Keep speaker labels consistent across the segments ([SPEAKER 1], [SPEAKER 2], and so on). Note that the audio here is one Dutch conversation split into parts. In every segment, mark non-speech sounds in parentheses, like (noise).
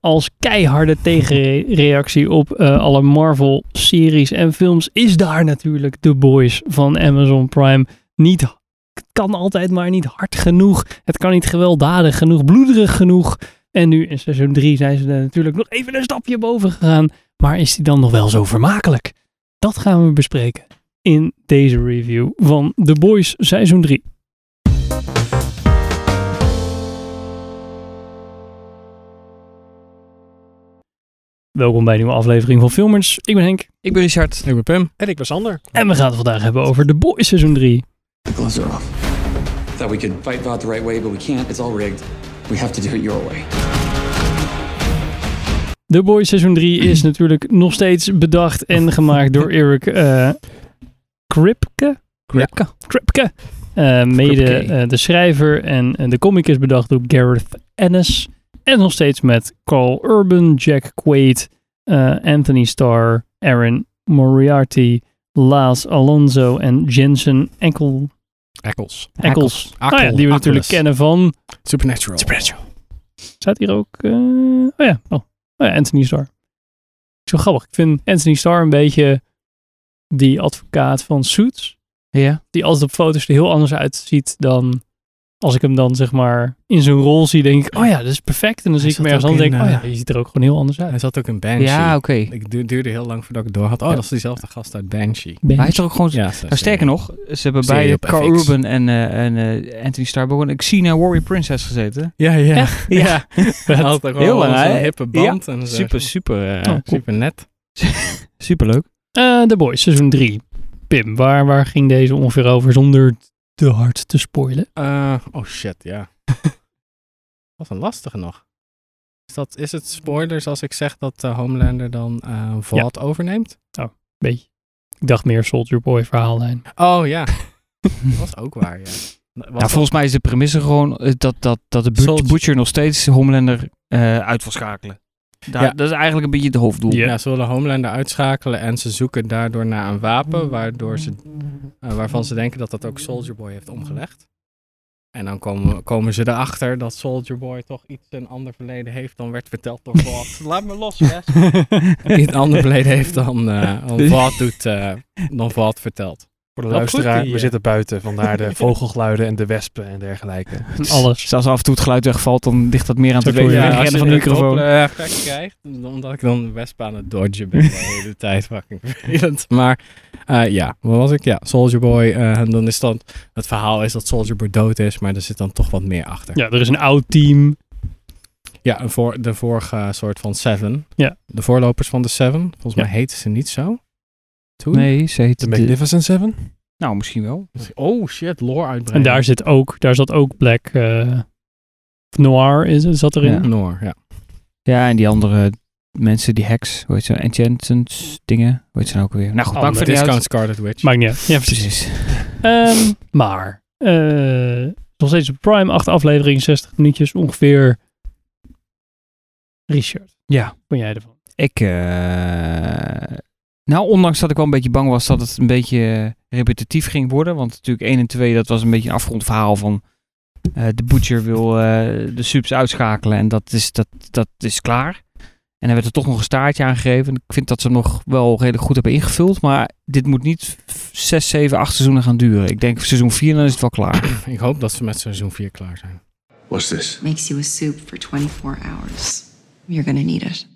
[SPEAKER 1] als keiharde tegenreactie op eh, alle Marvel-series en films is daar natuurlijk The Boys van Amazon Prime niet. Het kan altijd maar niet hard genoeg. Het kan niet gewelddadig genoeg, bloederig genoeg. En nu in seizoen 3 zijn ze er natuurlijk nog even een stapje boven gegaan. Maar is die dan nog wel zo vermakelijk? Dat gaan we bespreken in deze review van The Boys seizoen 3. Welkom bij een nieuwe aflevering van Filmers. Ik ben Henk
[SPEAKER 2] Ik ben Richard.
[SPEAKER 3] Ik ben Pim.
[SPEAKER 4] En ik ben Sander.
[SPEAKER 1] en we gaan het vandaag hebben over The Boys seizoen 3.
[SPEAKER 5] The gloves are off.
[SPEAKER 6] Thought we could fight VOD the right way, but we can't. It's all rigged. We have to do it your way.
[SPEAKER 1] The Boys seizoen 3
[SPEAKER 3] (clears throat)
[SPEAKER 1] is natuurlijk nog steeds bedacht en gemaakt door Eric eh Kripke.
[SPEAKER 3] Kripke.
[SPEAKER 1] Kripke. Eh, mede
[SPEAKER 3] Kripke.
[SPEAKER 1] eh, de schrijver en eh, de comic is bedacht door Gareth Ennis. En nog steeds met Carl Urban, Jack Quaid, eh, Anthony Starr, Aaron Moriarty, Laz Alonso en Jensen Enkel,
[SPEAKER 3] Eccles.
[SPEAKER 1] Eccles.
[SPEAKER 3] Akkel.
[SPEAKER 1] Nou ja, die we natuurlijk
[SPEAKER 3] Akkeles.
[SPEAKER 1] kennen van
[SPEAKER 3] Supernatural.
[SPEAKER 1] Supernatural. Staat hier ook... eh, oh, ja. Oh. oh ja, Anthony Starr. Zo grappig. Ik vind Anthony Starr een beetje die advocaat van Suits.
[SPEAKER 2] Ja.
[SPEAKER 1] Die altijd op foto's er heel anders uitziet dan... Als ik hem dan zeg maar in zijn rol zie, denk ik... Oh ja, dat is perfect. En dan zie ik
[SPEAKER 3] zat
[SPEAKER 1] hem ergens
[SPEAKER 3] ook
[SPEAKER 1] anders en denk ik...
[SPEAKER 3] in, eh,
[SPEAKER 1] Oh ja, je ziet er ook gewoon heel anders uit.
[SPEAKER 3] Hij zat ook in Banshee.
[SPEAKER 2] Ja, oké.
[SPEAKER 3] Ik du- duurde heel lang voordat ik het door had. Oh,
[SPEAKER 1] Ja.
[SPEAKER 3] dat is diezelfde gast uit Banshee.
[SPEAKER 2] Maar hij is toch ook gewoon...
[SPEAKER 3] Ja, eh,
[SPEAKER 2] Nou, sterker nog, ze hebben
[SPEAKER 3] Serie
[SPEAKER 2] beide
[SPEAKER 3] op
[SPEAKER 2] Carl
[SPEAKER 3] FX.
[SPEAKER 2] Urban en, eh, en eh, Anthony Starbuck en Xena Warrior Princess gezeten.
[SPEAKER 3] Ja, ja.
[SPEAKER 2] Ja.
[SPEAKER 3] (laughs) Hij had ook
[SPEAKER 2] Heel
[SPEAKER 3] wel
[SPEAKER 2] lang,
[SPEAKER 3] zo'n
[SPEAKER 2] hè?
[SPEAKER 3] hippe band. en zo.
[SPEAKER 2] Super, super,
[SPEAKER 1] Oh,
[SPEAKER 2] eh
[SPEAKER 1] cool.
[SPEAKER 3] super net.
[SPEAKER 2] super leuk.
[SPEAKER 1] Eh, The Boys, seizoen 3. Pim, waar, waar ging deze ongeveer over zonder te hard te spoilen?
[SPEAKER 3] Eh, oh shit, ja. (laughs) Wat een lastige nog. Is, dat, is het spoilers als ik zeg dat eh, Homelander dan eh Vault overneemt?
[SPEAKER 1] Beetje. Ik dacht meer Soldier Boy verhaallijn.
[SPEAKER 3] Oh ja, dat was ook waar, ja. Was
[SPEAKER 2] Ja,
[SPEAKER 3] dat-
[SPEAKER 2] volgens mij is de premisse gewoon eh, dat, dat, dat de but-
[SPEAKER 3] Soldier-
[SPEAKER 2] Butcher nog steeds Homelander eh, uit wil schakelen. Daar,
[SPEAKER 3] Ja.
[SPEAKER 2] Dat is eigenlijk een beetje het hoofddoel.
[SPEAKER 1] Ja.
[SPEAKER 3] Ja, ze willen Homelander uitschakelen en ze zoeken daardoor naar een wapen waardoor ze, eh, waarvan ze denken dat dat ook Soldier Boy heeft omgelegd. En dan komen, komen ze erachter dat Soldier Boy toch iets een ander verleden heeft dan werd verteld
[SPEAKER 2] (laughs)
[SPEAKER 3] door Vought. Laat me
[SPEAKER 1] (laughs)
[SPEAKER 3] los, yes. Die een ander verleden heeft dan,
[SPEAKER 2] (laughs)
[SPEAKER 3] eh dan Vought doet, eh, dan Vought vertelt.
[SPEAKER 4] Voor de
[SPEAKER 3] Wel goed,
[SPEAKER 4] luisteraar,
[SPEAKER 3] die,
[SPEAKER 4] we
[SPEAKER 3] eh.
[SPEAKER 4] zitten buiten. Vandaar (laughs) de vogelgeluiden en de wespen en dergelijke.
[SPEAKER 1] Alles.
[SPEAKER 2] (laughs) Dus als af en toe het geluid wegvalt, dan ligt dat meer aan het
[SPEAKER 1] Zo cool,
[SPEAKER 2] wegen
[SPEAKER 1] ja.
[SPEAKER 2] rennen van de microfoon.
[SPEAKER 3] eh, effect krijgt, omdat ik dan wesp aan het dodgen ben de hele (laughs) tijd. Fucking vervelend. Maar eh, ja, wat was ik? Ja, Soldier Boy. eh, en dan is dan, het verhaal is dat Soldier Boy dood is, maar er zit dan toch wat meer achter.
[SPEAKER 1] Ja, er is een oud team.
[SPEAKER 3] Ja, een voor, de vorige soort van Seven.
[SPEAKER 1] Ja.
[SPEAKER 3] De voorlopers van de Seven. Volgens
[SPEAKER 1] Ja.
[SPEAKER 3] mij heten ze niet zo. Toen?
[SPEAKER 2] Nee, ze heet...
[SPEAKER 4] The
[SPEAKER 2] de-
[SPEAKER 4] Magnificent Seven?
[SPEAKER 2] nou, misschien wel.
[SPEAKER 3] Oh shit, lore uitbreiden.
[SPEAKER 1] En daar zit ook, daar zat ook Black eh, Noir is, het, zat erin.
[SPEAKER 2] Ja.
[SPEAKER 3] Noor, ja.
[SPEAKER 2] Ja, en die andere eh, mensen, die hacks, hoe heet ze, enchantments dingen, hoe heet ze nou ook weer. Nou goed,
[SPEAKER 1] Oh,
[SPEAKER 2] maakt
[SPEAKER 1] maar
[SPEAKER 2] voor die
[SPEAKER 3] Discount
[SPEAKER 2] uit.
[SPEAKER 3] Scarlet Witch.
[SPEAKER 1] Maakt niet uit. Ja, precies.
[SPEAKER 2] Precies. Eh,
[SPEAKER 1] Ehm, maar, eh, nog steeds op Prime, acht afleveringen, 60 minuutjes ongeveer. Richard,
[SPEAKER 2] Ja.
[SPEAKER 1] vond jij ervan?
[SPEAKER 2] Ik, eh, nou ondanks dat ik wel een beetje bang was dat het een beetje eh, repetitief ging worden, want natuurlijk 1 en 2, dat was een beetje een afgerond verhaal van eh, de butcher wil eh, de subs uitschakelen en dat is, dat, dat is klaar. En dan werd er toch nog een staartje aangegeven. Ik vind dat ze hem nog wel redelijk goed hebben ingevuld. Maar dit moet niet 6, 7, 8 seizoenen gaan duren. Ik denk seizoen 4 dan is het wel klaar.
[SPEAKER 3] (clears throat) Ik hoop dat ze met seizoen 4 klaar zijn.
[SPEAKER 5] What's this?
[SPEAKER 7] makes you a soup for 24 hours. You're gonna need it.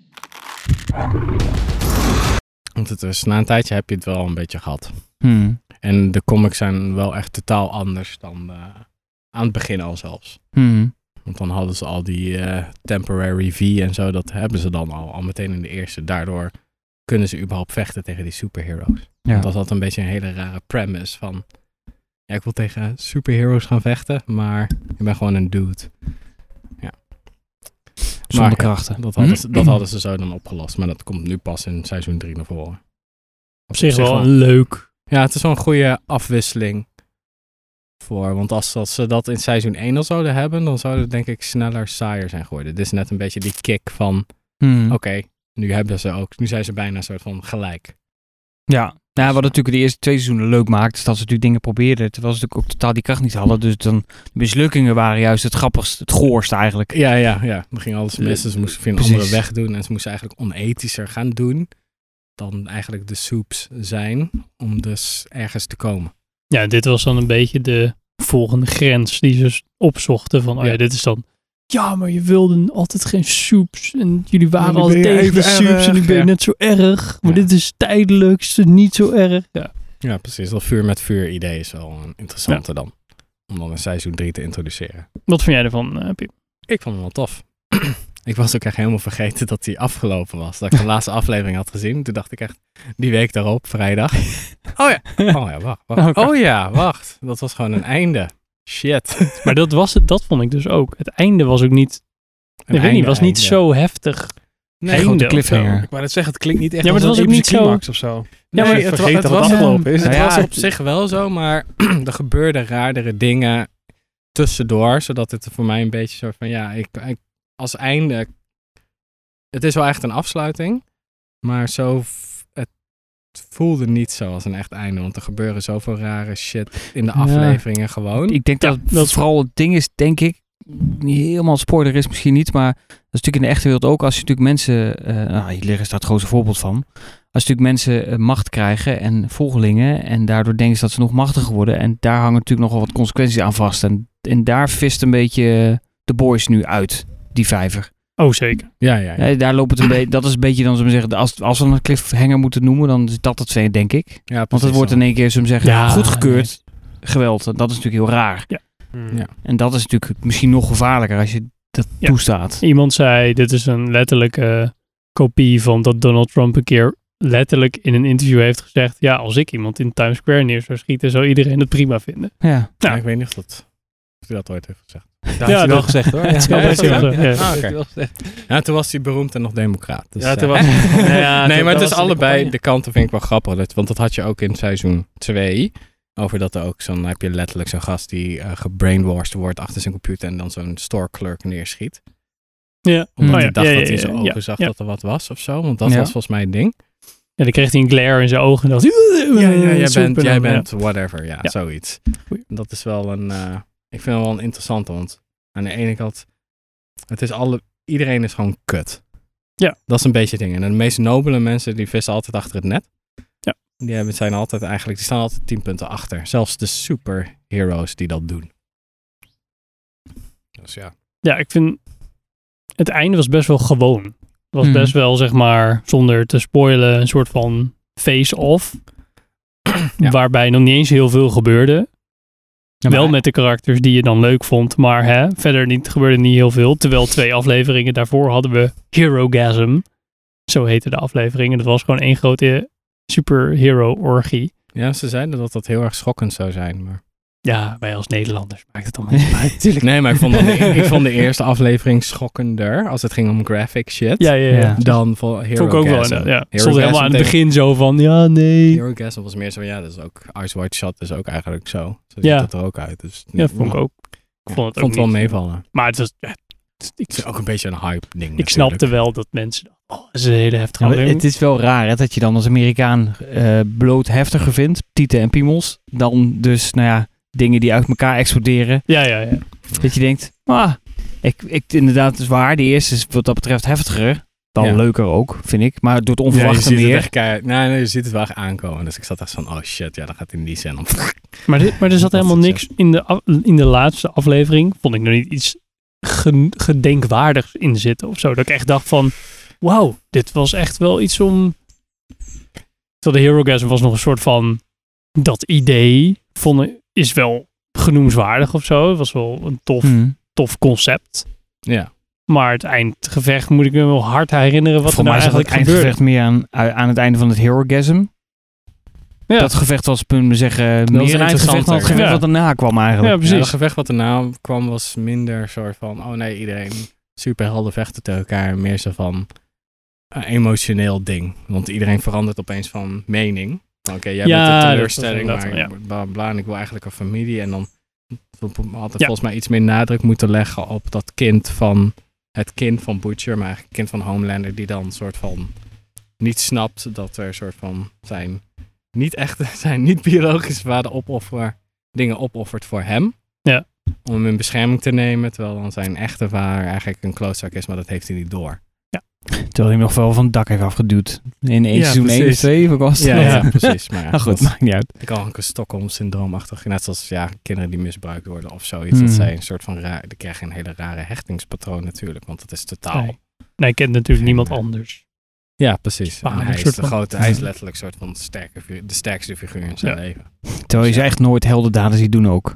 [SPEAKER 3] Want het is, na een tijdje heb je het wel een beetje gehad.
[SPEAKER 2] Hmm.
[SPEAKER 3] En de comics zijn wel echt totaal anders dan eh, aan het begin al zelfs.
[SPEAKER 2] Hmm.
[SPEAKER 3] Want dan hadden ze al die eh, temporary V en zo, dat hebben ze dan al, al meteen in de eerste. Daardoor kunnen ze überhaupt vechten tegen die superheroes.
[SPEAKER 2] Ja.
[SPEAKER 3] Want dat had een beetje een hele rare premise van... Ja, ik wil tegen superheroes gaan vechten, maar ik ben gewoon een dude. Ja.
[SPEAKER 2] Zonder
[SPEAKER 3] Maar ja,
[SPEAKER 2] krachten.
[SPEAKER 3] dat, hadden ze,
[SPEAKER 1] Hm?
[SPEAKER 3] dat hadden ze zo dan opgelost, maar dat komt nu pas in seizoen 3 naar voren.
[SPEAKER 1] Op zich wel een leuk.
[SPEAKER 3] Ja, het is wel een goede afwisseling voor. Want als, als ze dat in seizoen 1 al zouden hebben, dan zouden het denk ik sneller saaier zijn geworden. Dit is net een beetje die kick van,
[SPEAKER 2] Hmm.
[SPEAKER 3] oké, nu hebben ze ook, nu zijn ze bijna een soort van gelijk.
[SPEAKER 2] Ja, Nou, wat het natuurlijk de eerste twee seizoenen leuk maakt, is dat ze natuurlijk dingen probeerden. Terwijl ze natuurlijk ook totaal die kracht niet hadden. Dus dan de mislukkingen waren juist het grappigste, het goorste eigenlijk.
[SPEAKER 3] Ja, ja, ja. Er ging alles mis. en Ze moesten via een
[SPEAKER 2] Precies.
[SPEAKER 3] andere weg doen. En ze moesten eigenlijk onethischer gaan doen dan eigenlijk de soeps zijn. Om dus ergens te komen.
[SPEAKER 1] Ja, dit was dan een beetje de volgende grens die ze s- opzochten. Van, oh ja,
[SPEAKER 3] Ja.
[SPEAKER 1] dit is dan... Ja, maar je wilden altijd geen soeps. En jullie waren
[SPEAKER 3] nu
[SPEAKER 1] altijd
[SPEAKER 3] ben je
[SPEAKER 1] tegen de
[SPEAKER 3] even
[SPEAKER 1] soeps. En nu
[SPEAKER 3] erg,
[SPEAKER 1] ben je
[SPEAKER 3] ja.
[SPEAKER 1] net zo erg. Maar
[SPEAKER 3] Ja.
[SPEAKER 1] dit is tijdelijk, is het niet zo erg. Ja.
[SPEAKER 3] Ja, precies. Dat vuur met vuur idee is wel een interessante dan. Om dan een seizoen 3 te introduceren.
[SPEAKER 1] Wat vind jij ervan, eh, Pim?
[SPEAKER 3] Ik vond hem wel tof. (clears throat) ik was ook echt helemaal vergeten dat hij afgelopen was. Dat
[SPEAKER 1] (laughs)
[SPEAKER 3] ik de laatste aflevering had gezien. Toen dacht ik echt, die week
[SPEAKER 1] (laughs)
[SPEAKER 3] daarop, vrijdag. Oh ja, oh ja, wacht, wacht.
[SPEAKER 2] Oké.
[SPEAKER 3] Oh ja, wacht. Dat was gewoon een einde. Shit.
[SPEAKER 1] Maar dat was het, dat vond ik dus ook. Het einde was ook niet... ik
[SPEAKER 3] Een
[SPEAKER 1] weet niet,
[SPEAKER 3] einde,
[SPEAKER 1] was niet
[SPEAKER 3] einde.
[SPEAKER 1] zo heftig.
[SPEAKER 2] Een
[SPEAKER 1] Einde of
[SPEAKER 2] grote
[SPEAKER 1] zo.
[SPEAKER 2] cliffhanger.
[SPEAKER 4] Ik wou net zeggen, het klinkt niet echt
[SPEAKER 1] Ja, maar
[SPEAKER 4] als
[SPEAKER 1] het
[SPEAKER 4] een
[SPEAKER 1] was ook niet zo-
[SPEAKER 4] epische climax of zo.
[SPEAKER 3] Ja, maar
[SPEAKER 4] je
[SPEAKER 3] het wa-
[SPEAKER 4] vergeet
[SPEAKER 3] het
[SPEAKER 4] dat het
[SPEAKER 3] was-
[SPEAKER 4] afgelopen is.
[SPEAKER 3] Het
[SPEAKER 2] Nou ja,
[SPEAKER 3] was op zich wel zo, maar (clears throat) er gebeurden raardere dingen tussendoor. Zodat het voor mij een beetje soort van, ja, ik, ik- als einde... Het is wel echt een afsluiting, maar zo... v- Het voelde niet zo als een echt einde, want er gebeuren zoveel rare shit in de
[SPEAKER 2] Ja.
[SPEAKER 3] afleveringen gewoon.
[SPEAKER 2] Ik denk dat,
[SPEAKER 1] dat-
[SPEAKER 2] dat vooral het ding is, denk ik, niet helemaal spoiler is misschien niet, maar dat is natuurlijk in de echte wereld ook. Als je natuurlijk mensen, eh nou, Hitler is daar het grootste voorbeeld van. Als natuurlijk mensen eh, macht krijgen en volgelingen en daardoor denken ze dat ze nog machtiger worden. En daar hangen natuurlijk nogal wat consequenties aan vast. En, en daar vist een beetje eh, de boys nu uit, die vijver.
[SPEAKER 1] Oh, zeker.
[SPEAKER 3] Ja, ja, ja.
[SPEAKER 2] Ja, daar loopt het een beetje, dat is een beetje dan, zullen we zeggen, als, als we een cliffhanger moeten noemen, dan is dat het, zijn, denk ik.
[SPEAKER 3] ja
[SPEAKER 2] Want
[SPEAKER 3] precies
[SPEAKER 2] het wordt
[SPEAKER 3] zo.
[SPEAKER 2] in één keer, zullen we zeggen,
[SPEAKER 1] Ja,
[SPEAKER 2] goedgekeurd geweld. En dat is natuurlijk heel raar.
[SPEAKER 4] Hmm.
[SPEAKER 3] Ja.
[SPEAKER 2] En dat is natuurlijk misschien nog gevaarlijker als je dat
[SPEAKER 1] Ja.
[SPEAKER 2] toestaat.
[SPEAKER 1] Iemand zei, dit is een letterlijke kopie van dat Donald Trump een keer letterlijk in een interview heeft gezegd. Ja, als ik iemand in Times Square neer zou schieten, zou iedereen het prima vinden.
[SPEAKER 2] Ja.
[SPEAKER 3] Ja,
[SPEAKER 1] Ja.
[SPEAKER 3] Ik weet niet of, dat, of hij dat ooit heeft gezegd.
[SPEAKER 4] Dat had je wel
[SPEAKER 1] dat-
[SPEAKER 4] gezegd hoor.
[SPEAKER 1] Het is wel
[SPEAKER 4] (laughs) Ja,
[SPEAKER 1] best
[SPEAKER 4] ja,
[SPEAKER 1] wel zo,
[SPEAKER 4] ja.
[SPEAKER 1] ja.
[SPEAKER 4] Ja, dat
[SPEAKER 3] Ah, oké.
[SPEAKER 4] wel gezegd.
[SPEAKER 3] Ja, toen was hij beroemd en nog democraat. Dus,
[SPEAKER 4] Ja, toen
[SPEAKER 3] eh,
[SPEAKER 4] was (laughs)
[SPEAKER 1] Nou ja,
[SPEAKER 3] nee, maar
[SPEAKER 4] dat-
[SPEAKER 3] het
[SPEAKER 4] dat
[SPEAKER 3] is
[SPEAKER 4] was de
[SPEAKER 3] allebei.
[SPEAKER 4] campagne.
[SPEAKER 3] De kanten vind ik wel grappig. Dat, want dat had je ook in seizoen 2. Over dat er ook zo'n. dan heb je letterlijk zo'n gast die eh gebrainwashed wordt achter zijn computer. en dan zo'n store clerk neerschiet.
[SPEAKER 1] Ja.
[SPEAKER 3] Omdat
[SPEAKER 1] Oh
[SPEAKER 3] hij
[SPEAKER 1] ja,
[SPEAKER 3] dacht
[SPEAKER 1] ja,
[SPEAKER 3] Hmm, dat hij
[SPEAKER 1] ja,
[SPEAKER 3] zijn
[SPEAKER 1] ja,
[SPEAKER 3] ogen
[SPEAKER 1] ja,
[SPEAKER 3] zag
[SPEAKER 1] ja.
[SPEAKER 3] dat er wat was of zo. Want dat
[SPEAKER 2] Ja.
[SPEAKER 3] was volgens mij het ding.
[SPEAKER 1] Ja, dan kreeg hij een glare in zijn ogen en dacht...
[SPEAKER 3] Ja, ja, jij
[SPEAKER 1] Super,
[SPEAKER 3] bent, jij
[SPEAKER 1] Eh, ja.
[SPEAKER 3] bent whatever. Ja,
[SPEAKER 1] Ja.
[SPEAKER 3] zoiets.
[SPEAKER 1] Goeie.
[SPEAKER 3] Dat is wel een. eh, ik vind het wel een interessante. Want aan de ene kant. Het is alle, iedereen is gewoon kut.
[SPEAKER 1] Ja.
[SPEAKER 3] Dat is een beetje het ding. En de meest nobele mensen die vissen altijd achter het net.
[SPEAKER 1] Ja.
[SPEAKER 3] Die hebben, zijn altijd eigenlijk, die staan altijd tien punten achter. Zelfs de superheroes die dat doen. Dus ja.
[SPEAKER 1] Ja, ik vind... Het einde was best wel gewoon. Het was
[SPEAKER 3] Hmm.
[SPEAKER 2] Mhm.
[SPEAKER 1] best wel, zeg maar, zonder te spoilen, een soort van face-off.
[SPEAKER 3] Ja.
[SPEAKER 1] Waarbij nog niet eens heel veel gebeurde.
[SPEAKER 2] Ja,
[SPEAKER 1] wel
[SPEAKER 2] maar-
[SPEAKER 1] met de karakters die je dan leuk vond, maar hè, verder niet, gebeurde niet heel veel. Terwijl twee afleveringen daarvoor hadden we Herogasm. Zo heette de aflevering. En dat was gewoon één grote superhero-orgie.
[SPEAKER 3] Ja, ze zeiden dat dat heel erg schokkend zou zijn. Maar...
[SPEAKER 1] Ja, wij als Nederlanders maakt het allemaal niet
[SPEAKER 2] (laughs)
[SPEAKER 1] uit.
[SPEAKER 3] Nee, maar ik vond, dan
[SPEAKER 1] (laughs)
[SPEAKER 3] de, e- ik vond de eerste aflevering schokkender. Als het ging om graphic shit.
[SPEAKER 1] Ja, ja, ja.
[SPEAKER 2] Ja.
[SPEAKER 3] Dan voor Hero
[SPEAKER 1] Vond ik ook wel.
[SPEAKER 3] Gasm.
[SPEAKER 1] inderdaad, Ja.
[SPEAKER 3] Herogasm
[SPEAKER 1] Stond helemaal aan het
[SPEAKER 3] tegen-
[SPEAKER 1] begin zo van, ja, nee.
[SPEAKER 3] Hero Gasm was meer zo, ja, dat is ook Ice White Shot is ook eigenlijk zo. Zo ziet
[SPEAKER 1] Ja.
[SPEAKER 3] dat er ook uit. Dus,
[SPEAKER 1] Ja, vond ik ook. Ik vond het ook
[SPEAKER 3] vond wel
[SPEAKER 1] niet-
[SPEAKER 3] meevallen.
[SPEAKER 1] Maar het was, ja, het-
[SPEAKER 3] Het is
[SPEAKER 1] ik,
[SPEAKER 3] ook een beetje een hype ding
[SPEAKER 1] ik snapte wel dat mensen, oh, dat is een hele heftige
[SPEAKER 2] Ja, maar
[SPEAKER 1] aflevering.
[SPEAKER 2] het is wel raar hè, dat je dan als Amerikaan eh, bloot heftiger vindt, tieten en piemels, dan dus, nou ja, dingen die uit elkaar exploderen.
[SPEAKER 1] Ja, ja, ja.
[SPEAKER 2] Dat je denkt, ah, ik, ik, inderdaad, het is waar, de eerste is wat dat betreft heftiger, dan
[SPEAKER 3] Ja.
[SPEAKER 2] leuker ook, vind ik. Maar door het
[SPEAKER 3] Ja, je
[SPEAKER 2] onverwachte
[SPEAKER 3] ziet het
[SPEAKER 2] meer.
[SPEAKER 3] echt keihard- nee, nee, je ziet het wel echt aankomen. Dus ik zat echt van, oh shit, ja, dan gaat hij in die scène om. (laughs)
[SPEAKER 1] Maar, dit, maar er zat
[SPEAKER 3] Dat
[SPEAKER 1] helemaal
[SPEAKER 3] is
[SPEAKER 1] niks in de, af- in de laatste aflevering. Vond ik nog niet iets gen- gedenkwaardigs in zitten of zo. Dat ik echt dacht van, wauw, dit was echt wel iets om... Terwijl de Herogasm was nog een soort van, dat idee vond ik, is wel genoemswaardig of zo. Het was wel een tof,
[SPEAKER 2] Hm.
[SPEAKER 1] tof concept.
[SPEAKER 3] Ja.
[SPEAKER 1] Maar het eindgevecht moet ik me wel hard herinneren wat
[SPEAKER 2] Voor
[SPEAKER 1] er
[SPEAKER 2] mij
[SPEAKER 1] nou
[SPEAKER 2] zat het
[SPEAKER 1] eigenlijk gebeurde.
[SPEAKER 2] eindgevecht meer aan, aan het einde van het heroism.
[SPEAKER 1] Ja.
[SPEAKER 2] Dat gevecht was, kunnen we zeggen,
[SPEAKER 3] was
[SPEAKER 2] meer een eindgevecht dan
[SPEAKER 3] interessanter,
[SPEAKER 2] het gevecht
[SPEAKER 1] ja.
[SPEAKER 2] wat daarna kwam eigenlijk.
[SPEAKER 1] Ja,
[SPEAKER 3] Ja, het
[SPEAKER 1] precies.
[SPEAKER 3] gevecht wat erna kwam was minder soort van, oh nee, iedereen superhelden vechten tegen elkaar. Meer zo van een emotioneel ding. Want iedereen verandert opeens van mening. Oké, jij
[SPEAKER 1] Ja, dat
[SPEAKER 3] bent
[SPEAKER 1] was
[SPEAKER 3] een teleurstelling,
[SPEAKER 1] inderdaad
[SPEAKER 3] maar
[SPEAKER 1] wel, ja.
[SPEAKER 3] bla, bla, en ik wil eigenlijk een familie. En dan had
[SPEAKER 1] Ja.
[SPEAKER 3] volgens mij iets meer nadruk moeten leggen op dat kind van, het kind van Butcher, maar eigenlijk het kind van Homelander, die dan soort van niet snapt dat er soort van zijn niet echt (laughs) zijn niet biologische vader opoffer, dingen opoffert voor hem.
[SPEAKER 1] Ja.
[SPEAKER 3] Om hem in bescherming te nemen, terwijl dan zijn echte vader eigenlijk een klootzak is, maar dat heeft hij niet door.
[SPEAKER 2] Terwijl hij hem nog wel van het dak heeft afgeduwd. In één
[SPEAKER 3] Ja,
[SPEAKER 2] seizoen 1 of
[SPEAKER 3] precies.
[SPEAKER 2] 2 was het
[SPEAKER 3] Ja,
[SPEAKER 2] (laughs) nog.
[SPEAKER 3] ja, precies. Maar ja,
[SPEAKER 2] Maar Nou goed,
[SPEAKER 3] dat-
[SPEAKER 2] maakt niet uit.
[SPEAKER 3] ik al een Stockholm-syndroomachtig. Net zoals ja, kinderen die misbruikt worden of zoiets.
[SPEAKER 2] Hmm.
[SPEAKER 3] Dat zij een soort van raar, die krijgen een hele rare hechtingspatroon natuurlijk, want dat is totaal.
[SPEAKER 1] Nee. Nee, ik ken natuurlijk niemand
[SPEAKER 3] Ja.
[SPEAKER 1] anders.
[SPEAKER 3] Ja, precies. En
[SPEAKER 1] Spaan, een
[SPEAKER 3] hij is
[SPEAKER 1] soort
[SPEAKER 3] de
[SPEAKER 1] van-
[SPEAKER 3] grote, hij is letterlijk een soort van sterke, fi- de sterkste figuur in zijn
[SPEAKER 1] Ja.
[SPEAKER 3] leven.
[SPEAKER 2] Terwijl je ze echt nooit heldendaden ziet doen ook.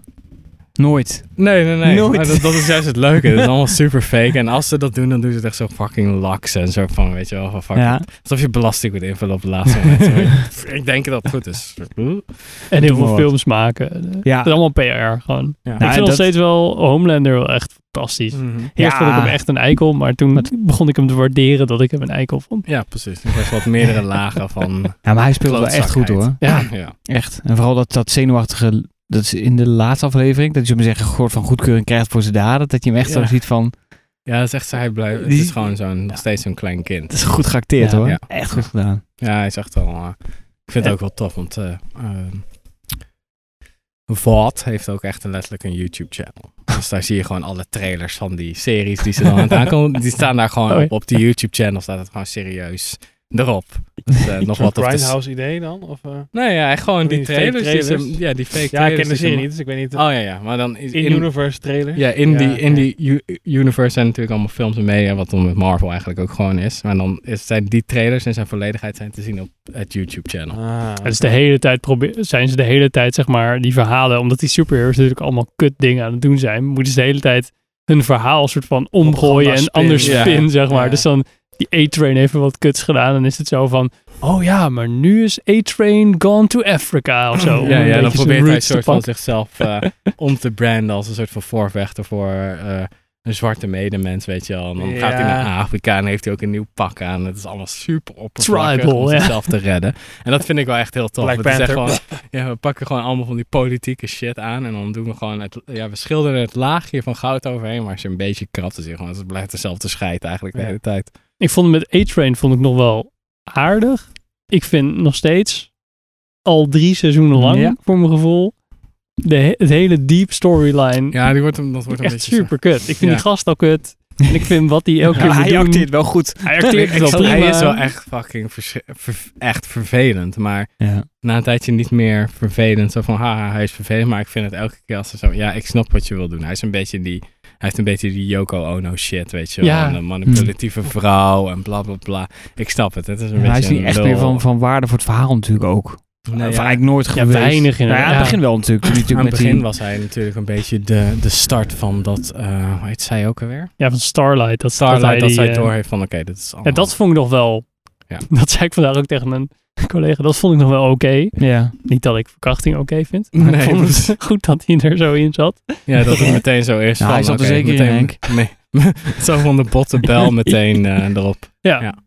[SPEAKER 2] Nooit.
[SPEAKER 3] Nee, nee, nee.
[SPEAKER 2] Nooit.
[SPEAKER 3] Maar dat, dat is juist het leuke. Het is allemaal super fake. En als ze dat doen, dan doen ze het echt zo fucking laks en zo van, weet je wel, van fucking.
[SPEAKER 2] Ja.
[SPEAKER 3] Alsof je belasting moet invullen op het laatste moment.
[SPEAKER 2] (laughs)
[SPEAKER 3] Zo, ik denk dat het goed is.
[SPEAKER 1] En heel
[SPEAKER 2] maar
[SPEAKER 1] veel
[SPEAKER 2] wat.
[SPEAKER 1] films maken. Het
[SPEAKER 2] Ja.
[SPEAKER 1] is allemaal PR gewoon.
[SPEAKER 3] Ja.
[SPEAKER 1] ik
[SPEAKER 2] Nou,
[SPEAKER 1] vind nog
[SPEAKER 2] dat-
[SPEAKER 1] steeds wel Homelander wel echt fantastisch.
[SPEAKER 3] Mhm.
[SPEAKER 1] Eerst
[SPEAKER 2] Ja.
[SPEAKER 1] vond ik hem echt een eikel, maar toen begon ik hem te waarderen dat ik hem een eikel vond.
[SPEAKER 3] Ja, precies. Er zijn wat meerdere lagen van
[SPEAKER 2] Ja, maar hij speelt wel echt goed
[SPEAKER 3] klootzakheid.
[SPEAKER 2] hoor.
[SPEAKER 3] ja.
[SPEAKER 2] Echt. En vooral dat, dat zenuwachtige, dat is in de laatste aflevering, dat je hem zeggen, gehoord van goedkeuring krijgt voor zijn daden. Dat je hem echt
[SPEAKER 3] Ja.
[SPEAKER 2] zo ziet van,
[SPEAKER 3] Ja, dat is echt zo. Hij blijft. Het
[SPEAKER 2] Die-
[SPEAKER 3] is gewoon zo'n, nog steeds zo'n klein kind.
[SPEAKER 2] het is goed geacteerd
[SPEAKER 1] Ja.
[SPEAKER 2] hoor.
[SPEAKER 3] Ja.
[SPEAKER 2] Echt goed (laughs) gedaan.
[SPEAKER 3] Ja, hij is echt wel. eh, ik vind
[SPEAKER 1] Ja.
[SPEAKER 3] het ook wel tof, want. eh ehm, Vought heeft ook echt een, letterlijk een YouTube-channel. Dus daar zie je gewoon alle trailers van die series die ze dan aan het aankomen. Die staan daar gewoon
[SPEAKER 1] Oh, ja.
[SPEAKER 3] op. Op die YouTube-channel staat het gewoon serieus erop. Dus,
[SPEAKER 4] (laughs)
[SPEAKER 3] eh, nog wat op de s-
[SPEAKER 4] Grindhouse idee dan? Of, eh?
[SPEAKER 3] Nee, ja, gewoon die
[SPEAKER 4] Die fake
[SPEAKER 3] trailers. die ze-
[SPEAKER 4] trailers.
[SPEAKER 3] ja, die fake
[SPEAKER 4] Ja, ik
[SPEAKER 3] trailers.
[SPEAKER 4] ken de
[SPEAKER 3] die ze
[SPEAKER 4] serie
[SPEAKER 3] ma-
[SPEAKER 4] niet, dus ik weet niet.
[SPEAKER 3] Oh ja, ja, maar dan is
[SPEAKER 4] In-universe trailer.
[SPEAKER 3] Ja, in,
[SPEAKER 4] Ja,
[SPEAKER 3] die, in
[SPEAKER 4] ja.
[SPEAKER 3] die u- universe zijn natuurlijk allemaal films en media, wat dan met Marvel eigenlijk ook gewoon is. Maar dan is, zijn die trailers in zijn volledigheid zijn te zien op het YouTube-channel.
[SPEAKER 4] Ah,
[SPEAKER 1] En
[SPEAKER 4] (laughs)
[SPEAKER 1] dus de hele tijd probeer, zijn ze de hele tijd, zeg maar, die verhalen, omdat die superheroes natuurlijk allemaal kut dingen aan het doen zijn, moeten ze de hele tijd hun verhaal soort van omgooien en
[SPEAKER 4] spin,
[SPEAKER 1] anders
[SPEAKER 3] ja.
[SPEAKER 1] spin, zeg maar.
[SPEAKER 4] Ja.
[SPEAKER 1] Dus dan, die A-Train heeft wel wat kuts gedaan, dan is het zo van, oh ja, maar nu is A-Train gone to Africa of zo. Om
[SPEAKER 3] Ja,
[SPEAKER 1] een
[SPEAKER 3] ja,
[SPEAKER 1] beetje
[SPEAKER 3] dan
[SPEAKER 1] zijn
[SPEAKER 3] probeert hij een
[SPEAKER 1] roots te
[SPEAKER 3] soort van
[SPEAKER 1] pakken.
[SPEAKER 3] zichzelf eh, (laughs) om te branden als een soort van voorvechter voor eh, een zwarte medemens, weet je wel. En dan gaat hij
[SPEAKER 4] Ja.
[SPEAKER 3] naar Afrika en heeft hij ook een nieuw pak aan. Het is allemaal super oppervlakkig
[SPEAKER 1] Tribal,
[SPEAKER 3] om
[SPEAKER 1] ja.
[SPEAKER 3] zichzelf te redden. En dat vind ik wel echt heel tof.
[SPEAKER 4] Black
[SPEAKER 3] Want het is echt
[SPEAKER 4] Panther.
[SPEAKER 3] gewoon- ja, we pakken gewoon allemaal van die politieke shit aan en dan doen we gewoon het, ja, we schilderen het laagje van goud overheen, maar als je een beetje krapt, dan zie je gewoon, het blijft dezelfde scheid eigenlijk de
[SPEAKER 4] Ja.
[SPEAKER 3] hele tijd.
[SPEAKER 1] Ik vond hem met A-Train vond ik nog wel aardig. Ik vind nog steeds al drie seizoenen lang,
[SPEAKER 2] Ja.
[SPEAKER 1] voor mijn gevoel, de, he- het hele deep storyline
[SPEAKER 3] Ja, die wordt hem, dat wordt een
[SPEAKER 1] echt
[SPEAKER 3] beetje
[SPEAKER 1] super kut. Ik vind
[SPEAKER 3] Ja.
[SPEAKER 1] die gast al kut. En ik vind wat hij elke keer
[SPEAKER 2] (laughs) Ja,
[SPEAKER 1] moet
[SPEAKER 2] hij
[SPEAKER 1] doen-
[SPEAKER 2] acteert wel goed.
[SPEAKER 1] Hij acteert
[SPEAKER 3] Ik
[SPEAKER 1] wel
[SPEAKER 3] zal- hij
[SPEAKER 1] prima.
[SPEAKER 3] is wel echt fucking vers- ver- echt vervelend, maar
[SPEAKER 2] Ja.
[SPEAKER 3] na een tijdje niet meer vervelend. Zo van, haha, hij is vervelend. Maar ik vind het elke keer als ze zo... Ja, ik snap wat je wil doen. Hij is een beetje die... Hij heeft een beetje die Yoko Ono shit, weet je wel.
[SPEAKER 1] Ja.
[SPEAKER 3] En Een manipulatieve vrouw en bla, bla, bla. Ik snap het. Het is een beetje
[SPEAKER 2] Hm. hij is niet
[SPEAKER 3] een
[SPEAKER 2] echt
[SPEAKER 3] lul.
[SPEAKER 2] meer van, van waarde voor het verhaal natuurlijk ook.
[SPEAKER 3] Nee,
[SPEAKER 2] of
[SPEAKER 3] ja.
[SPEAKER 2] eigenlijk nooit geweest.
[SPEAKER 1] weinig
[SPEAKER 2] Nou, ja,
[SPEAKER 1] inderdaad.
[SPEAKER 2] aan het begin wel natuurlijk. Toen hij
[SPEAKER 3] Aan
[SPEAKER 2] natuurlijk
[SPEAKER 3] het
[SPEAKER 2] met
[SPEAKER 3] begin
[SPEAKER 2] die-
[SPEAKER 3] was hij natuurlijk een beetje de, de start van dat... eh hoe heet zij ook alweer?
[SPEAKER 1] Ja, van Starlight. Dat,
[SPEAKER 3] Starlight, dat,
[SPEAKER 1] hij die,
[SPEAKER 3] zij
[SPEAKER 1] eh,
[SPEAKER 3] doorheeft van, oké, dit is
[SPEAKER 1] ja,
[SPEAKER 3] allemaal...
[SPEAKER 1] dat vond ik nog wel...
[SPEAKER 3] Ja.
[SPEAKER 1] (laughs) Dat zei ik vandaag ook tegen een collega. Dat vond ik nog wel oké.
[SPEAKER 2] Ja.
[SPEAKER 1] Niet dat ik verkrachting oké vind. Maar ik
[SPEAKER 3] (laughs) Nee,
[SPEAKER 1] vond
[SPEAKER 3] precies.
[SPEAKER 1] het (laughs) goed dat hij er zo in zat.
[SPEAKER 3] Ja, dat het meteen zo is. van,
[SPEAKER 2] Nou, hij zat er
[SPEAKER 3] oké,
[SPEAKER 2] zeker in,
[SPEAKER 3] meteen, (laughs)
[SPEAKER 2] Henk.
[SPEAKER 3] Nee. zo van de botte
[SPEAKER 2] (laughs)
[SPEAKER 3] bel meteen eh, erop.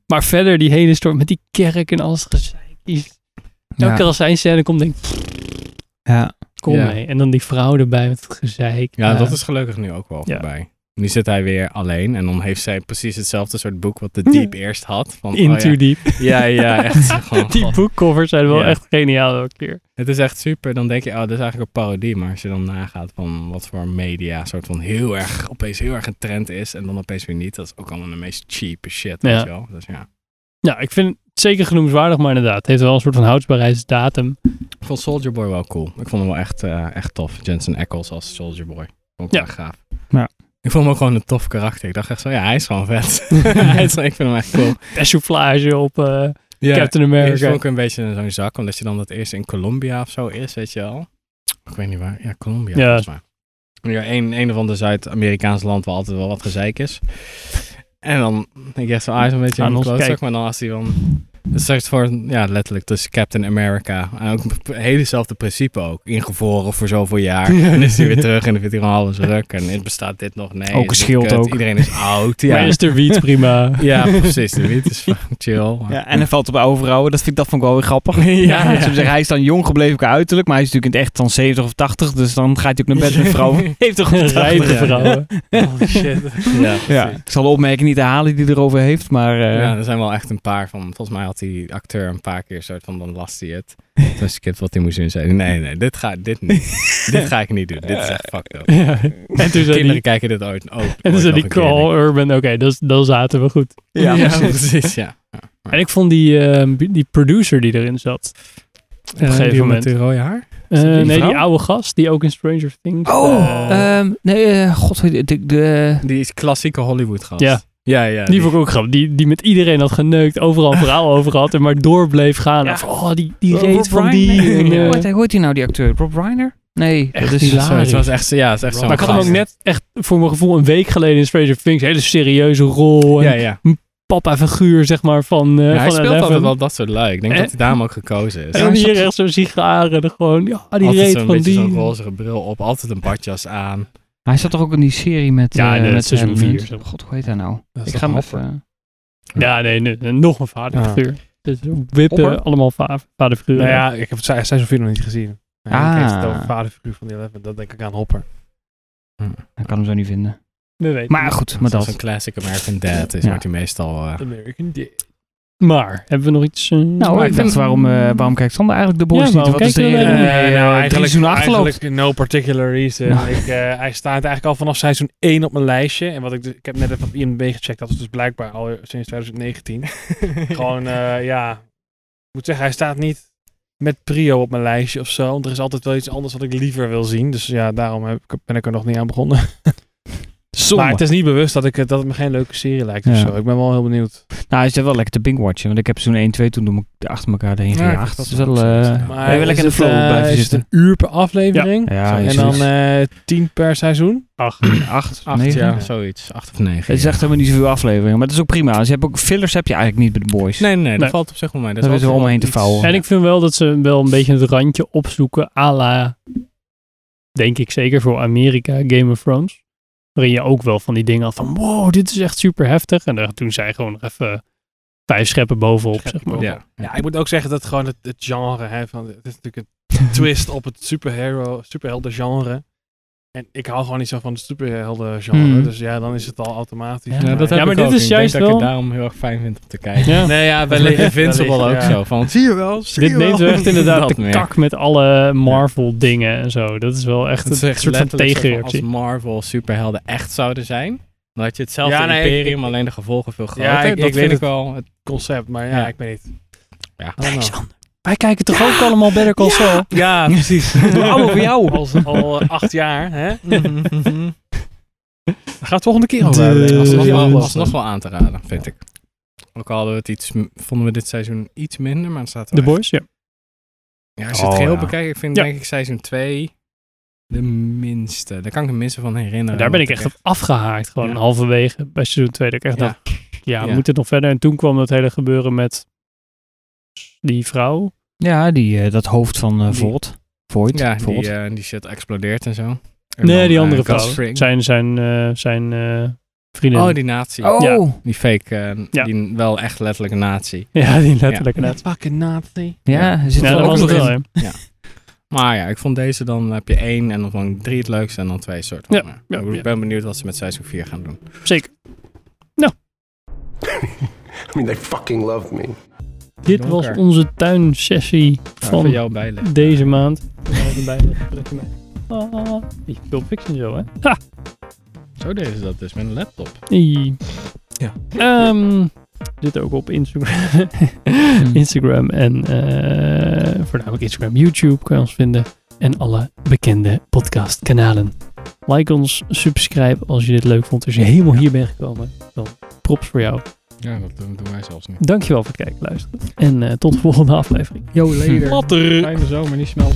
[SPEAKER 1] Maar verder die hele story met die kerk en alles. gezeik. Die- Elke
[SPEAKER 2] Ja.
[SPEAKER 1] keer als hij in scène komt, denk ik,
[SPEAKER 2] Ja.
[SPEAKER 1] kom
[SPEAKER 3] Ja.
[SPEAKER 1] mee. En dan die vrouw erbij met het gezeik. Eh,
[SPEAKER 3] Ja, dat is gelukkig nu ook wel
[SPEAKER 1] Ehm, Ja.
[SPEAKER 3] voorbij. Nu zit hij weer alleen en dan heeft zij precies hetzelfde soort boek wat de Deep eerst had. Van, oh
[SPEAKER 1] In Too
[SPEAKER 3] ja.
[SPEAKER 1] Deep.
[SPEAKER 3] (laughs) ja,
[SPEAKER 1] (laughs)
[SPEAKER 3] ja, echt. Gewoon,
[SPEAKER 1] Die
[SPEAKER 3] god.
[SPEAKER 1] boekcovers zijn wel
[SPEAKER 3] Ja.
[SPEAKER 1] echt geniaal elke keer.
[SPEAKER 3] Het is echt super. Dan denk je, oh, dit is eigenlijk een parodie. Maar als je dan nagaat van wat voor media soort van heel erg, opeens heel erg een trend is en dan opeens weer niet. Dat is ook allemaal de meest cheap shit,
[SPEAKER 1] Ja.
[SPEAKER 3] weet je wel. Dus ja.
[SPEAKER 1] Nou, ik vind het zeker genoemswaardig, maar inderdaad. Het heeft wel een soort van houdbaarheidsdatum.
[SPEAKER 3] Ik vond Soldier Boy wel cool. Ik vond hem wel echt, eh, echt tof. Jensen Ackles als Soldier Boy. Vond ik
[SPEAKER 1] Ja.
[SPEAKER 3] wel echt gaaf.
[SPEAKER 2] Ja.
[SPEAKER 3] Ik vond hem ook gewoon een tof karakter. Ik dacht echt zo, ja, hij is gewoon
[SPEAKER 1] (laughs)
[SPEAKER 3] vet. (laughs) hij is, ik vind hem echt cool.
[SPEAKER 1] Persoufflage op eh,
[SPEAKER 3] Ja.
[SPEAKER 1] Captain
[SPEAKER 3] Eerst
[SPEAKER 1] America.
[SPEAKER 3] vond ik een beetje in zo'n zak, omdat je dan dat eerst in Colombia of zo is, weet je wel. Ik weet niet waar. Ja, Colombia
[SPEAKER 1] Ja.
[SPEAKER 3] volgens mij. Ja, een, een of ander Zuid-Amerikaans land waar altijd wel wat gezeik is. En dan denk je echt zo, ah, hij is een beetje
[SPEAKER 1] Aan
[SPEAKER 3] een
[SPEAKER 1] ons
[SPEAKER 3] klootzak,
[SPEAKER 1] kijken.
[SPEAKER 3] maar dan als hij dan... Het zegt voor, ja, letterlijk tussen Captain America. En ook het helezelfde principe ook. Ingevroren voor zoveel jaar. En dan is hij weer terug en dan vindt hij gewoon alles ruk. En het bestaat dit nog, nee.
[SPEAKER 2] Ook een
[SPEAKER 3] is dit
[SPEAKER 2] schild
[SPEAKER 3] kut,
[SPEAKER 2] ook.
[SPEAKER 3] Iedereen is oud.
[SPEAKER 1] Maar
[SPEAKER 3] Ja,
[SPEAKER 1] is er wiet prima?
[SPEAKER 3] (laughs) ja precies. De wiet is fucking chill. maar-
[SPEAKER 2] Ja, en hij valt op oude vrouwen. Dat vind ik, dat vond ik wel weer grappig. Ja,
[SPEAKER 3] (laughs) ja.
[SPEAKER 2] dat ze zeggen, hij is dan jong gebleven qua uiterlijk. Maar hij is natuurlijk in het echt dan 70 of 80. Dus dan gaat hij ook
[SPEAKER 3] (laughs)
[SPEAKER 2] naar bed met vrouwen. Heeft toch een
[SPEAKER 1] Rijpe
[SPEAKER 3] ja.
[SPEAKER 1] vrouwen.
[SPEAKER 4] Oh, (laughs)
[SPEAKER 3] Holy shit. Ja,
[SPEAKER 2] Ja, ik zal de opmerking niet herhalen die hij erover heeft. Maar eh,
[SPEAKER 1] Ehm, (laughs)
[SPEAKER 3] ja, er zijn wel echt een paar van. Volgens mij had die acteur een paar keer soort van dan las hij het. Toen skipt wat hij moest inzetten. Nee, nee, dit ga, dit,
[SPEAKER 1] (laughs)
[SPEAKER 3] niet. dit ga ik niet doen. Dit is echt fucked up.
[SPEAKER 1] Ja. (laughs) En toen zei
[SPEAKER 3] Kinderen
[SPEAKER 1] die,
[SPEAKER 3] kijken dit ooit. ooit
[SPEAKER 1] en toen
[SPEAKER 3] ooit
[SPEAKER 1] zei die
[SPEAKER 3] nog een keer.
[SPEAKER 1] Carl Urban, oké, dus dan zaten we goed.
[SPEAKER 3] Ja, (laughs) precies. Ja.
[SPEAKER 1] En ik vond die, eh, die producer die erin zat. Op een gegeven moment.
[SPEAKER 3] Met die Oh, rode haar.
[SPEAKER 1] Eh,
[SPEAKER 2] die
[SPEAKER 1] nee,
[SPEAKER 2] vrouw?
[SPEAKER 1] die oude gast die ook in Stranger Things. eh,
[SPEAKER 2] Ehm, nee, eh, god, de, de, de-
[SPEAKER 3] Die is klassieke Hollywood gast.
[SPEAKER 1] Ja.
[SPEAKER 3] Ja, ja.
[SPEAKER 1] Die vond ik ook grappig. Die, die met iedereen had geneukt,
[SPEAKER 3] (laughs)
[SPEAKER 1] overal een verhaal over had en maar door bleef gaan.
[SPEAKER 2] Ja.
[SPEAKER 1] Of, oh, die, die
[SPEAKER 2] Rob
[SPEAKER 1] reet van
[SPEAKER 2] Reiner?
[SPEAKER 1] die. En,
[SPEAKER 2] Nee,
[SPEAKER 1] eh,
[SPEAKER 2] hoe heet hij- hoe heet hij nou, die acteur? Rob Reiner? Nee,
[SPEAKER 1] Echt
[SPEAKER 2] dat is
[SPEAKER 1] hilarisch.
[SPEAKER 3] Zo, het was echt, ja, het is echt zo'n
[SPEAKER 1] maar ik had hem
[SPEAKER 3] gast.
[SPEAKER 1] ook net echt voor mijn gevoel een week geleden in Stranger Things. Een hele serieuze rol. En
[SPEAKER 3] Ja, ja.
[SPEAKER 1] papa figuur, zeg maar, van, eh
[SPEAKER 3] Ja, hij
[SPEAKER 1] van
[SPEAKER 3] speelt
[SPEAKER 1] Eleven.
[SPEAKER 3] altijd wel dat soort lui. Ik denk
[SPEAKER 1] Eh?
[SPEAKER 3] dat hij daarom ook gekozen is.
[SPEAKER 1] En dan hier echt zo'n sigaren. er Gewoon, ja, die
[SPEAKER 3] altijd
[SPEAKER 1] reet
[SPEAKER 3] zo'n
[SPEAKER 1] van
[SPEAKER 3] beetje
[SPEAKER 1] die.
[SPEAKER 3] zo'n rozige bril op. Altijd een badjas aan.
[SPEAKER 2] Hij zat toch ook in die serie met...
[SPEAKER 1] Ja,
[SPEAKER 2] eh,
[SPEAKER 1] de
[SPEAKER 2] met
[SPEAKER 1] seizoen
[SPEAKER 2] Adam
[SPEAKER 1] vier,
[SPEAKER 2] Hunt?
[SPEAKER 1] zeg maar.
[SPEAKER 2] God, hoe heet hij nou?
[SPEAKER 4] Dat is
[SPEAKER 2] Ik ga
[SPEAKER 4] toch
[SPEAKER 2] hem
[SPEAKER 4] hopper.
[SPEAKER 2] even...
[SPEAKER 1] Ja, nee, nee, nee, nog een vaderfiguur. Dus
[SPEAKER 2] Hopper?
[SPEAKER 1] wippen, allemaal va vaderfiguren.
[SPEAKER 4] Nou ja, ik heb het se- seizoen 4 nog niet gezien. Maar
[SPEAKER 2] Ah.
[SPEAKER 4] Ik heb het over vaderfiguur van die Eleven. Dat denk ik aan Hopper.
[SPEAKER 2] Ik kan hem zo niet vinden.
[SPEAKER 1] we weten
[SPEAKER 2] Hmm. Maar
[SPEAKER 1] het.
[SPEAKER 2] goed, maar
[SPEAKER 3] Zoals een
[SPEAKER 2] dat.
[SPEAKER 3] classic American Dad is,
[SPEAKER 2] Ja.
[SPEAKER 3] wordt hij meestal... eh,
[SPEAKER 4] American Dad.
[SPEAKER 1] Maar, hebben we nog iets... eh,
[SPEAKER 2] Nou,
[SPEAKER 1] maar
[SPEAKER 2] ik dacht, waarom, eh, waarom kijkt Sander eigenlijk de
[SPEAKER 1] Ja,
[SPEAKER 2] boys niet?
[SPEAKER 1] waarom
[SPEAKER 2] Wat is de
[SPEAKER 1] kijken we
[SPEAKER 2] reden?
[SPEAKER 1] daar
[SPEAKER 2] dat
[SPEAKER 1] niet?
[SPEAKER 2] hij, eh,
[SPEAKER 4] nou,
[SPEAKER 2] drie
[SPEAKER 4] eigenlijk,
[SPEAKER 2] seizoenen achterloopt?
[SPEAKER 4] eigenlijk no particular reason.
[SPEAKER 2] Ja.
[SPEAKER 4] Ik, eh, hij staat eigenlijk al vanaf seizoen 1 op mijn lijstje. En wat ik, dus- ik heb net even op IMDb gecheckt. Dat is dus blijkbaar al sinds
[SPEAKER 3] (laughs)
[SPEAKER 2] (laughs)
[SPEAKER 4] 2019. Gewoon, eh, ja. Ik moet zeggen, hij staat niet met prio op mijn lijstje of zo. Want er is altijd wel iets anders wat ik liever wil zien. Dus ja, daarom heb ik- ben ik er nog niet aan begonnen.
[SPEAKER 2] Zonde.
[SPEAKER 4] Maar het is niet bewust dat, ik, het- dat het me geen leuke serie lijkt of
[SPEAKER 2] Ja.
[SPEAKER 4] zo. Ik ben wel heel benieuwd.
[SPEAKER 2] Nou, hij is wel lekker te bingwatchen. Want ik heb seizoen 1, 2 toen door me- achter elkaar heen
[SPEAKER 3] Ja, dat
[SPEAKER 2] gejaagd. Dat
[SPEAKER 3] is
[SPEAKER 2] is wel...
[SPEAKER 3] ook zo,
[SPEAKER 2] eh,
[SPEAKER 3] ja.
[SPEAKER 2] ben
[SPEAKER 3] Maar
[SPEAKER 2] wel lekker in de
[SPEAKER 4] is
[SPEAKER 2] flow
[SPEAKER 4] het, eh,
[SPEAKER 2] blijven
[SPEAKER 4] is het
[SPEAKER 2] zitten.
[SPEAKER 4] een uur per aflevering?
[SPEAKER 2] Ja,
[SPEAKER 4] en
[SPEAKER 2] iets
[SPEAKER 4] dan
[SPEAKER 2] zoiets.
[SPEAKER 4] eh tien per
[SPEAKER 2] (clears throat)
[SPEAKER 4] seizoen?
[SPEAKER 2] Acht,
[SPEAKER 3] acht,
[SPEAKER 2] negen?
[SPEAKER 3] ja, zoiets. Acht of negen.
[SPEAKER 2] Het is
[SPEAKER 3] ja.
[SPEAKER 2] echt helemaal niet zoveel afleveringen. Maar het is ook prima. Dus je hebt ook, fillers heb je eigenlijk niet bij de boys.
[SPEAKER 3] Nee, nee, nee, dat
[SPEAKER 1] Nee.
[SPEAKER 3] valt op zich wel mee. Dat
[SPEAKER 2] Daar
[SPEAKER 3] is
[SPEAKER 2] is
[SPEAKER 3] altijd
[SPEAKER 2] wel omheen te
[SPEAKER 3] iets-
[SPEAKER 2] vouwen.
[SPEAKER 1] En ik vind wel dat ze wel een beetje het randje opzoeken à la, denk ik zeker voor Amerika, Game of Thrones. Waarin je ook wel van die dingen had van, wow, dit is echt super heftig. En daar toen zij gewoon nog even vijf scheppen bovenop, zeg maar.
[SPEAKER 3] Ja.
[SPEAKER 4] Ja, ik moet ook zeggen dat gewoon het, het genre, hè, van, het is natuurlijk een twist
[SPEAKER 2] (laughs)
[SPEAKER 4] op het superhero, superhelden genre. En ik hou gewoon niet zo van het superhelden genre.
[SPEAKER 2] Mhm.
[SPEAKER 4] Dus ja, dan is het al automatisch.
[SPEAKER 1] Ja,
[SPEAKER 3] Ja, dat heb
[SPEAKER 1] maar
[SPEAKER 3] ik
[SPEAKER 1] dit
[SPEAKER 3] ook.
[SPEAKER 1] is
[SPEAKER 3] ik
[SPEAKER 1] juist
[SPEAKER 3] denk dat
[SPEAKER 1] wel-
[SPEAKER 3] ik het daarom heel erg fijn vind om
[SPEAKER 4] (laughs)
[SPEAKER 3] te kijken.
[SPEAKER 1] Ja.
[SPEAKER 4] Nee, ja,
[SPEAKER 3] Bij
[SPEAKER 4] wellicht.
[SPEAKER 3] Invincible
[SPEAKER 4] wellicht,
[SPEAKER 3] ook
[SPEAKER 4] ja.
[SPEAKER 3] zo. (laughs) Van, zie je wel, zie
[SPEAKER 1] Dit
[SPEAKER 3] je wel.
[SPEAKER 1] neemt echt inderdaad
[SPEAKER 3] Dat
[SPEAKER 1] de
[SPEAKER 3] meer.
[SPEAKER 1] kak met alle Marvel dingen en zo. Dat is wel echt
[SPEAKER 3] Het is
[SPEAKER 1] een
[SPEAKER 3] echt
[SPEAKER 1] soort van
[SPEAKER 3] letterlijk zo van Als
[SPEAKER 1] tegenreactie.
[SPEAKER 3] Marvel superhelden echt zouden zijn, dan had je hetzelfde
[SPEAKER 4] Ja, nee, ik-
[SPEAKER 3] imperium, alleen de gevolgen veel groter.
[SPEAKER 4] ik- ik
[SPEAKER 3] dat
[SPEAKER 4] weet
[SPEAKER 3] vind ik
[SPEAKER 4] het.
[SPEAKER 3] wel. Het,
[SPEAKER 4] Concept, maar ja,
[SPEAKER 3] Ja.
[SPEAKER 4] ik weet niet.
[SPEAKER 3] ja.
[SPEAKER 4] I don't know.
[SPEAKER 1] Wij kijken toch ook allemaal Better Call Saul?
[SPEAKER 2] (laughs)
[SPEAKER 4] Ja, precies. Allemaal voor jou. Al, al eh, acht jaar, hè?
[SPEAKER 3] (laughs)
[SPEAKER 4] Daar gaat het volgende keer over.
[SPEAKER 1] De-
[SPEAKER 4] hebben, als we
[SPEAKER 3] alsnog,
[SPEAKER 4] die
[SPEAKER 3] wel,
[SPEAKER 4] aflossen.
[SPEAKER 3] alsnog wel aan te raden, vind ik. Ook al hadden we het iets, m- vonden we dit seizoen iets minder, maar het staat
[SPEAKER 1] De
[SPEAKER 3] wel echt-
[SPEAKER 1] Boys, ja.
[SPEAKER 3] Ja, als je het
[SPEAKER 4] Oh,
[SPEAKER 3] geheel
[SPEAKER 4] ja.
[SPEAKER 3] bekijkt, ik vind
[SPEAKER 1] Ja.
[SPEAKER 3] denk ik seizoen 2 de minste. Daar kan ik het minste van herinneren.
[SPEAKER 1] Daar ben ik
[SPEAKER 3] want
[SPEAKER 1] echt op afgehaakt. Gewoon
[SPEAKER 3] Ja.
[SPEAKER 1] halverwege bij seizoen 2. Dat ik echt
[SPEAKER 3] Ja.
[SPEAKER 1] dacht, ja,
[SPEAKER 3] Ja.
[SPEAKER 1] moet het nog verder? En toen kwam dat hele gebeuren met die vrouw.
[SPEAKER 2] Ja, die, eh, dat hoofd van eh
[SPEAKER 1] Die-
[SPEAKER 2] Volt. Voigt.
[SPEAKER 3] Ja,
[SPEAKER 2] Volt.
[SPEAKER 3] die, eh, die shit explodeert en zo. En
[SPEAKER 1] nee,
[SPEAKER 3] dan,
[SPEAKER 1] die
[SPEAKER 3] eh,
[SPEAKER 1] andere
[SPEAKER 3] Gus
[SPEAKER 1] vrouw.
[SPEAKER 3] Fring.
[SPEAKER 1] Zijn, zijn, eh, zijn eh, vriendin.
[SPEAKER 3] Oh, die nazi.
[SPEAKER 2] Oh! (laughs)
[SPEAKER 1] Ja.
[SPEAKER 3] Die fake, eh,
[SPEAKER 1] Ja.
[SPEAKER 3] die wel echt letterlijk een nazi.
[SPEAKER 1] (laughs) Ja, die letterlijk net.
[SPEAKER 4] Fucking nazi.
[SPEAKER 2] Ja, er zit
[SPEAKER 1] Ja,
[SPEAKER 2] er
[SPEAKER 1] dat
[SPEAKER 2] ook
[SPEAKER 1] was
[SPEAKER 2] nog
[SPEAKER 1] het wel.
[SPEAKER 2] in.
[SPEAKER 1] hè.
[SPEAKER 3] Maar ja, ik vond deze dan heb je één en dan vond ik drie het leukste en dan twee soort. van.
[SPEAKER 1] Ja,
[SPEAKER 3] Maar
[SPEAKER 1] ja,
[SPEAKER 3] ik
[SPEAKER 1] ja.
[SPEAKER 3] ben benieuwd wat ze met seizoen 4 gaan doen.
[SPEAKER 1] Zeker.
[SPEAKER 5] I mean, they fucking love me.
[SPEAKER 1] Dit was
[SPEAKER 3] Donker.
[SPEAKER 1] onze tuinsessie
[SPEAKER 3] Van
[SPEAKER 1] van
[SPEAKER 3] jou bijleggen.
[SPEAKER 1] deze maand. Ah, die Pulp Fiction zo, hè? Ha!
[SPEAKER 3] Zo deden ze dat dus met een laptop.
[SPEAKER 1] Ie.
[SPEAKER 4] Ja.
[SPEAKER 1] Ehm, dit ook op Instagram. Instagram en eh, voornamelijk Instagram, YouTube kan je ons vinden. En alle bekende podcastkanalen. Like ons, subscribe als je dit leuk vond. Als je helemaal hier bent gekomen, dan props voor jou.
[SPEAKER 3] Ja, dat doen, doen wij zelfs niet.
[SPEAKER 1] (laughs) Dankjewel voor het kijken, luisteren. En eh, tot de volgende aflevering.
[SPEAKER 2] Yo, later.
[SPEAKER 3] Fijne zomer, niet snel.